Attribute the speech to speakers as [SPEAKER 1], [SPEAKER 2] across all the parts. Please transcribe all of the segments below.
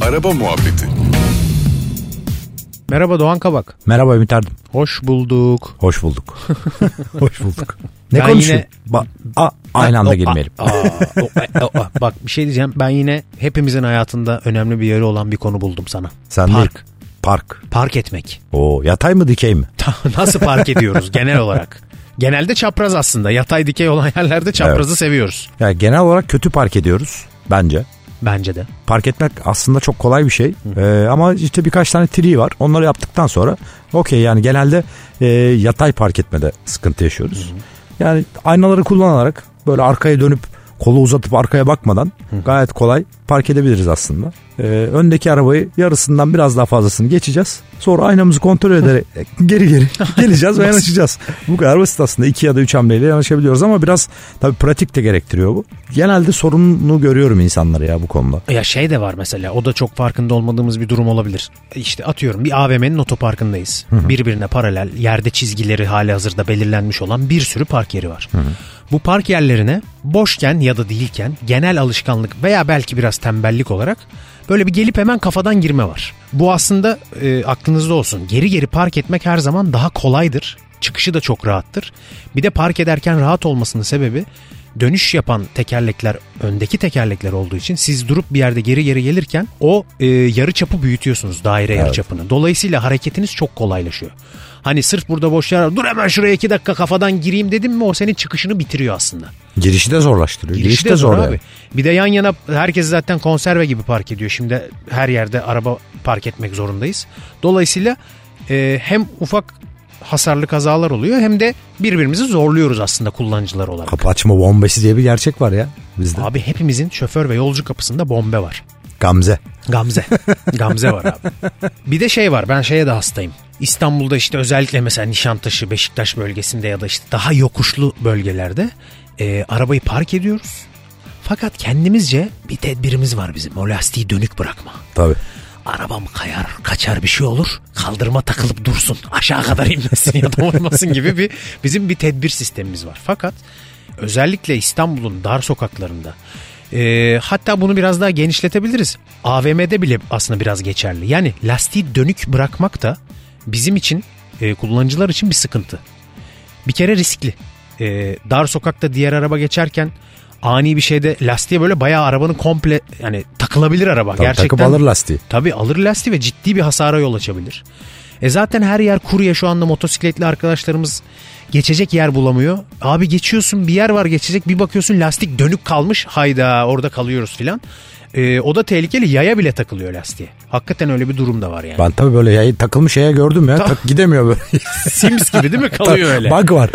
[SPEAKER 1] Araba Muhabbeti
[SPEAKER 2] Merhaba Doğan Kabak.
[SPEAKER 3] Merhaba Ümit Ardım.
[SPEAKER 2] Hoş bulduk.
[SPEAKER 3] Hoş bulduk. Hoş bulduk. Ne
[SPEAKER 2] Ben
[SPEAKER 3] konuşuyor?
[SPEAKER 2] yine-
[SPEAKER 3] Ba- a- aynı anda
[SPEAKER 2] O-
[SPEAKER 3] girmeyelim.
[SPEAKER 2] a- a- o- a- a- Bak bir şey diyeceğim. Ben yine hepimizin hayatında önemli bir yeri olan bir konu buldum sana.
[SPEAKER 3] Sen
[SPEAKER 2] park.
[SPEAKER 3] de park.
[SPEAKER 2] Park etmek.
[SPEAKER 3] Oo, yatay mı dikey mi?
[SPEAKER 2] Nasıl park ediyoruz genel olarak? Genelde çapraz aslında. Yatay dikey olan yerlerde çaprazı seviyoruz.
[SPEAKER 3] Ya genel olarak kötü park ediyoruz bence.
[SPEAKER 2] Bence de.
[SPEAKER 3] Park etmek aslında çok kolay bir şey. Ee, ama işte birkaç tane tri var. Onları yaptıktan sonra okey yani genelde e, yatay park etmede sıkıntı yaşıyoruz. Yani aynaları kullanarak böyle arkaya dönüp kolu uzatıp arkaya bakmadan gayet kolay park edebiliriz aslında. Ee, öndeki arabayı yarısından biraz daha fazlasını geçeceğiz. Sonra aynamızı kontrol ederek geri geri geleceğiz ve yanaşacağız. Bu kadar basit aslında. iki ya da üç hamleyle yanaşabiliyoruz ama biraz tabii pratik de gerektiriyor bu. Genelde sorununu görüyorum insanlara ya bu konuda.
[SPEAKER 2] Ya şey de var mesela o da çok farkında olmadığımız bir durum olabilir. İşte atıyorum bir AVM'nin otoparkındayız. Birbirine paralel yerde çizgileri hali hazırda belirlenmiş olan bir sürü park yeri var. Bu park yerlerine boşken ya da değilken genel alışkanlık veya belki biraz tembellik olarak böyle bir gelip hemen kafadan girme var. Bu aslında e, aklınızda olsun. Geri geri park etmek her zaman daha kolaydır. Çıkışı da çok rahattır. Bir de park ederken rahat olmasının sebebi dönüş yapan tekerlekler öndeki tekerlekler olduğu için siz durup bir yerde geri geri gelirken o e, yarı çapı büyütüyorsunuz daire yarı çapını. Dolayısıyla hareketiniz çok kolaylaşıyor. Hani sırf burada boş yer var, dur hemen şuraya iki dakika kafadan gireyim dedim mi o senin çıkışını bitiriyor aslında.
[SPEAKER 3] Girişi de zorlaştırıyor. Giriş, de zor, yani.
[SPEAKER 2] Bir de yan yana herkes zaten konserve gibi park ediyor. Şimdi her yerde araba park etmek zorundayız. Dolayısıyla e, hem ufak hasarlı kazalar oluyor hem de birbirimizi zorluyoruz aslında kullanıcılar olarak.
[SPEAKER 3] Kapı açma bombesi diye bir gerçek var ya bizde.
[SPEAKER 2] Abi hepimizin şoför ve yolcu kapısında bombe var.
[SPEAKER 3] Gamze.
[SPEAKER 2] Gamze. Gamze var abi. Bir de şey var ben şeye de hastayım. İstanbul'da işte özellikle mesela Nişantaşı, Beşiktaş bölgesinde ya da işte daha yokuşlu bölgelerde e, arabayı park ediyoruz. Fakat kendimizce bir tedbirimiz var bizim. O lastiği dönük bırakma.
[SPEAKER 3] Tabii.
[SPEAKER 2] Arabam kayar, kaçar bir şey olur. Kaldırıma takılıp dursun. Aşağı kadar inmesin ya da olmasın gibi bir bizim bir tedbir sistemimiz var. Fakat özellikle İstanbul'un dar sokaklarında e, hatta bunu biraz daha genişletebiliriz. AVM'de bile aslında biraz geçerli. Yani lastiği dönük bırakmak da bizim için e, kullanıcılar için bir sıkıntı. Bir kere riskli. Ee, dar sokakta diğer araba geçerken ani bir şeyde lastiğe böyle bayağı arabanın komple yani takılabilir araba.
[SPEAKER 3] Tabii
[SPEAKER 2] Gerçekten,
[SPEAKER 3] Takıp alır lastiği.
[SPEAKER 2] Tabii alır lastiği ve ciddi bir hasara yol açabilir. E zaten her yer kurye şu anda motosikletli arkadaşlarımız geçecek yer bulamıyor. Abi geçiyorsun bir yer var geçecek bir bakıyorsun lastik dönük kalmış hayda orada kalıyoruz filan. Ee, o da tehlikeli yaya bile takılıyor lastiğe. Hakikaten öyle bir durum da var yani.
[SPEAKER 3] Ben tabii böyle yayı, takılmış şeye gördüm ya. Tak, gidemiyor böyle.
[SPEAKER 2] Sims gibi değil mi kalıyor öyle?
[SPEAKER 3] Bug var.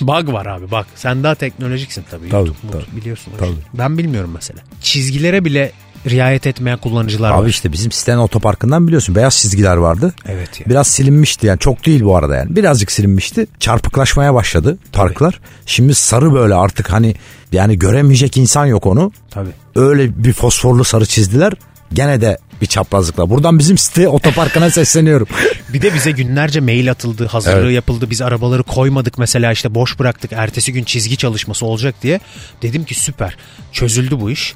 [SPEAKER 2] Bug var abi bak. Sen daha teknolojiksin tabii.
[SPEAKER 3] Tabii,
[SPEAKER 2] YouTube, YouTube biliyorsun. o işi. Ben bilmiyorum mesela. Çizgilere bile riayet etmeyen kullanıcılar
[SPEAKER 3] Abi
[SPEAKER 2] var.
[SPEAKER 3] işte bizim sitenin otoparkından biliyorsun beyaz çizgiler vardı.
[SPEAKER 2] Evet ya.
[SPEAKER 3] Biraz silinmişti yani çok değil bu arada yani birazcık silinmişti. Çarpıklaşmaya başladı parklar. Şimdi sarı böyle artık hani yani göremeyecek insan yok onu.
[SPEAKER 2] Tabii.
[SPEAKER 3] Öyle bir fosforlu sarı çizdiler. Gene de bir çaprazlıkla. Buradan bizim site otoparkına sesleniyorum.
[SPEAKER 2] Bir de bize günlerce mail atıldı, hazırlığı
[SPEAKER 3] Evet.
[SPEAKER 2] yapıldı. Biz arabaları koymadık mesela işte boş bıraktık. Ertesi gün çizgi çalışması olacak diye. Dedim ki süper. Çözüldü bu iş.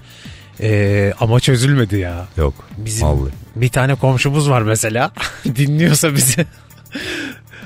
[SPEAKER 2] Ee, ama çözülmedi ya.
[SPEAKER 3] Yok.
[SPEAKER 2] Bizim
[SPEAKER 3] Vallahi.
[SPEAKER 2] bir tane komşumuz var mesela. Dinliyorsa bizi.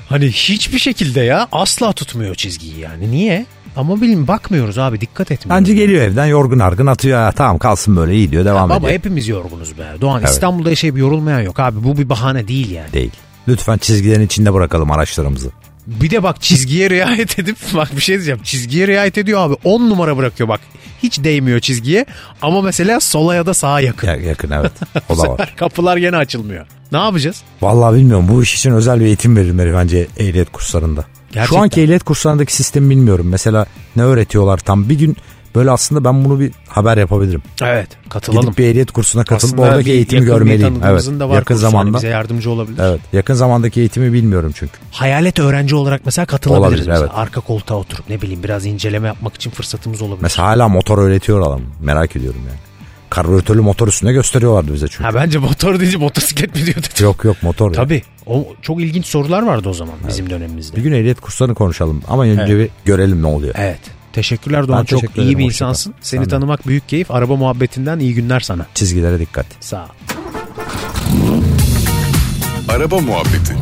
[SPEAKER 2] hani hiçbir şekilde ya asla tutmuyor çizgiyi yani. Niye? Ama bilin bakmıyoruz abi dikkat etmiyoruz.
[SPEAKER 3] Bence geliyor evden yorgun argın atıyor. "Ha, tamam kalsın böyle iyi diyor devam
[SPEAKER 2] Baba
[SPEAKER 3] ediyor.
[SPEAKER 2] hepimiz yorgunuz be. Doğan İstanbul'da yaşayıp yorulmayan yok abi. Bu bir bahane değil yani.
[SPEAKER 3] Değil. Lütfen çizgilerin içinde bırakalım araçlarımızı.
[SPEAKER 2] Bir de bak çizgiye riayet edip bak bir şey diyeceğim. Çizgiye riayet ediyor abi. 10 numara bırakıyor bak. Hiç değmiyor çizgiye ama mesela sola ya da sağa yakın.
[SPEAKER 3] Ya- Yakın evet. O
[SPEAKER 2] Bu
[SPEAKER 3] da var.
[SPEAKER 2] sefer kapılar gene açılmıyor. Ne yapacağız?
[SPEAKER 3] Vallahi bilmiyorum bu iş için özel bir eğitim verilmeli bence ehliyet kurslarında.
[SPEAKER 2] Gerçekten.
[SPEAKER 3] Şu anki ehliyet kurslarındaki sistemi bilmiyorum. Mesela ne öğretiyorlar tam bir gün böyle aslında ben bunu bir haber yapabilirim.
[SPEAKER 2] Evet katılalım.
[SPEAKER 3] Gidip bir ehliyet kursuna katılıp
[SPEAKER 2] Aslında
[SPEAKER 3] oradaki
[SPEAKER 2] bir
[SPEAKER 3] eğitimi
[SPEAKER 2] yakın bir
[SPEAKER 3] görmeliyim. Evet.
[SPEAKER 2] tanıdığımızın da var
[SPEAKER 3] yakın
[SPEAKER 2] kursu. Hani
[SPEAKER 3] zamanda.
[SPEAKER 2] bize yardımcı olabilir.
[SPEAKER 3] Evet. Yakın zamandaki eğitimi bilmiyorum çünkü.
[SPEAKER 2] Hayalet öğrenci olarak mesela katılabiliriz.
[SPEAKER 3] Olabilir,
[SPEAKER 2] mesela.
[SPEAKER 3] evet.
[SPEAKER 2] Arka koltuğa oturup ne bileyim biraz inceleme yapmak için fırsatımız olabilir.
[SPEAKER 3] Mesela hala motor öğretiyor adam. Merak ediyorum yani. Karbüratörlü motor üstünde gösteriyorlardı bize çünkü.
[SPEAKER 2] Ha bence motor deyince motosiklet mi diyordu?
[SPEAKER 3] Yok yok motor. ya.
[SPEAKER 2] Tabii. O çok ilginç sorular vardı o zaman bizim dönemimizde.
[SPEAKER 3] Bir gün ehliyet kurslarını konuşalım ama önce bir görelim ne oluyor.
[SPEAKER 2] Evet. Teşekkürler Doğan.
[SPEAKER 3] Ben
[SPEAKER 2] Çok
[SPEAKER 3] teşekkür
[SPEAKER 2] iyi
[SPEAKER 3] ederim.
[SPEAKER 2] bir
[SPEAKER 3] Hoşça kal.
[SPEAKER 2] insansın. Seni
[SPEAKER 3] Sen de.
[SPEAKER 2] tanımak büyük keyif. Araba muhabbetinden iyi günler sana.
[SPEAKER 3] Çizgilere dikkat.
[SPEAKER 2] Sağ ol.
[SPEAKER 1] Araba Muhabbeti